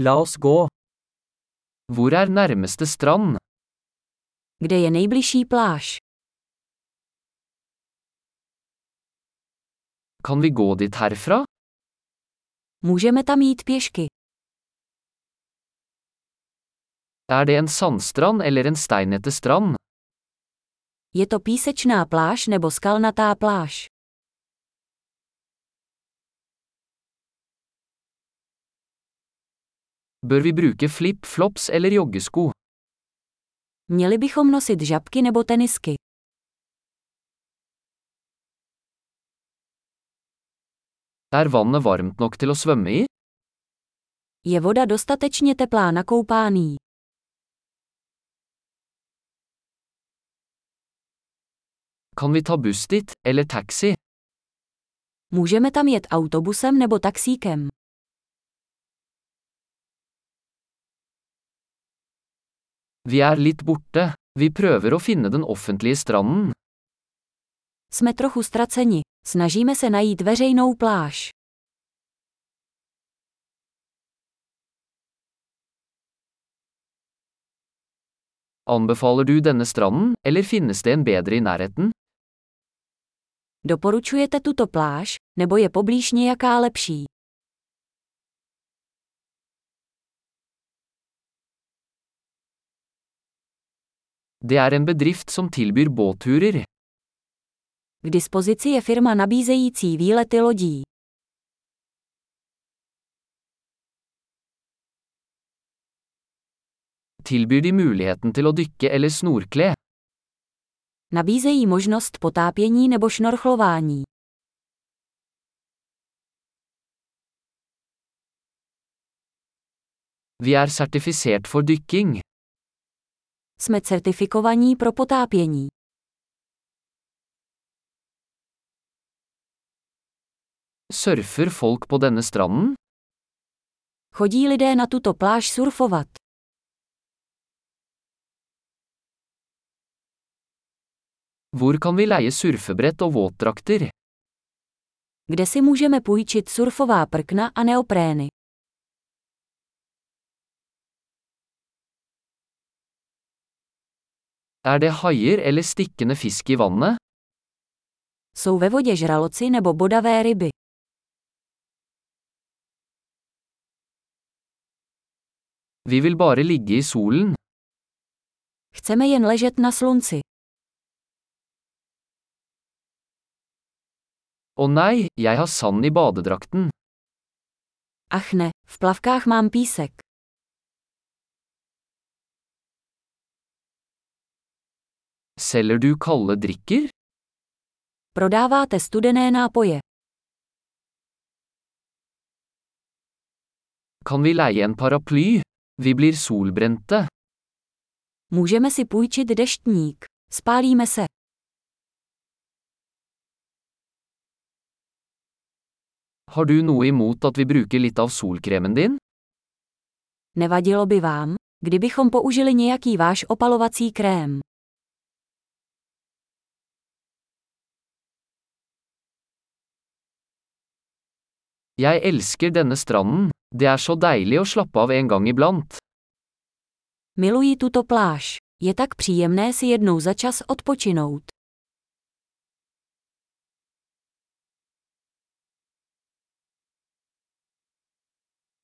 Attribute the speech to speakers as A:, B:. A: La oss gå. Hvor er nærmeste strand?
B: Kde je nejbližší pláž?
A: Kan vi gå dit herfra?
B: Můžeme tam jít pěšky.
A: Er det en sandstrand eller en steinete strand?
B: Je to písečná pláž nebo skalnatá pláž.
A: Bør vi bruke flip-flops eller joggesko?
B: Měli bychom nosit žabky nebo tenisky.
A: Er vannet varmt nok til å svømme i?
B: Je voda dostatečně teplá na koupání.
A: Kan vi ta buss dit, eller taxi?
B: Můžeme tam jet autobusem nebo taxíkem.
A: Vi er litt borte. Vi prøver å finne den offentlige stranden.
B: Jsme trochu ztraceni. Snažíme se najít veřejnou pláž.
A: Anbefaler du denne stranden, eller finnes det en bedre i nærheten?
B: Doporučujete tuto pláž, nebo je poblíž nějaká lepší?
A: Det er en bedrift som tilbyr båtturer.
B: K dispozici je firma nabízející výlety lodí.
A: Tilbyr de muligheten til å dykke eller snorkle?
B: Nabízejí možnost potápění nebo šnorchlování.
A: Vi er sertifisert for dykking.
B: Jsme certifikovaní pro potápění.
A: Surfer folk på denne stranden?
B: Chodí lidé na tuto pláž surfovat.
A: Hvor kan vi leie surfebrett og våtdrakter?
B: Kde si můžeme půjčit surfová prkna a neoprény?
A: Er det haier eller stikkende fisk i vannet?
B: Jsou ve vodě žraloci nebo bodavé ryby.
A: Vi vil bare ligge i solen.
B: Chceme jen ležet na slunci.
A: Å nei, jeg har sand i badedrakten.
B: Ach ne, v plavkách mám písek.
A: Selger du kalde drikker?
B: Prodáváte studené nápoje.
A: Kan vi leie en paraply? Vi blir solbrente.
B: Můžeme si půjčit deštník. Spálíme se.
A: Har du noe imot at vi bruker litt av solkremen din?
B: Nevadilo by vám, kdybychom použili nějaký váš opalovací krém.
A: Jeg elsker denne stranden. Det er så deilig å slappe av en gang iblant.
B: Miluji tuto pláž. Je tak příjemné si jednou za čas odpočinout.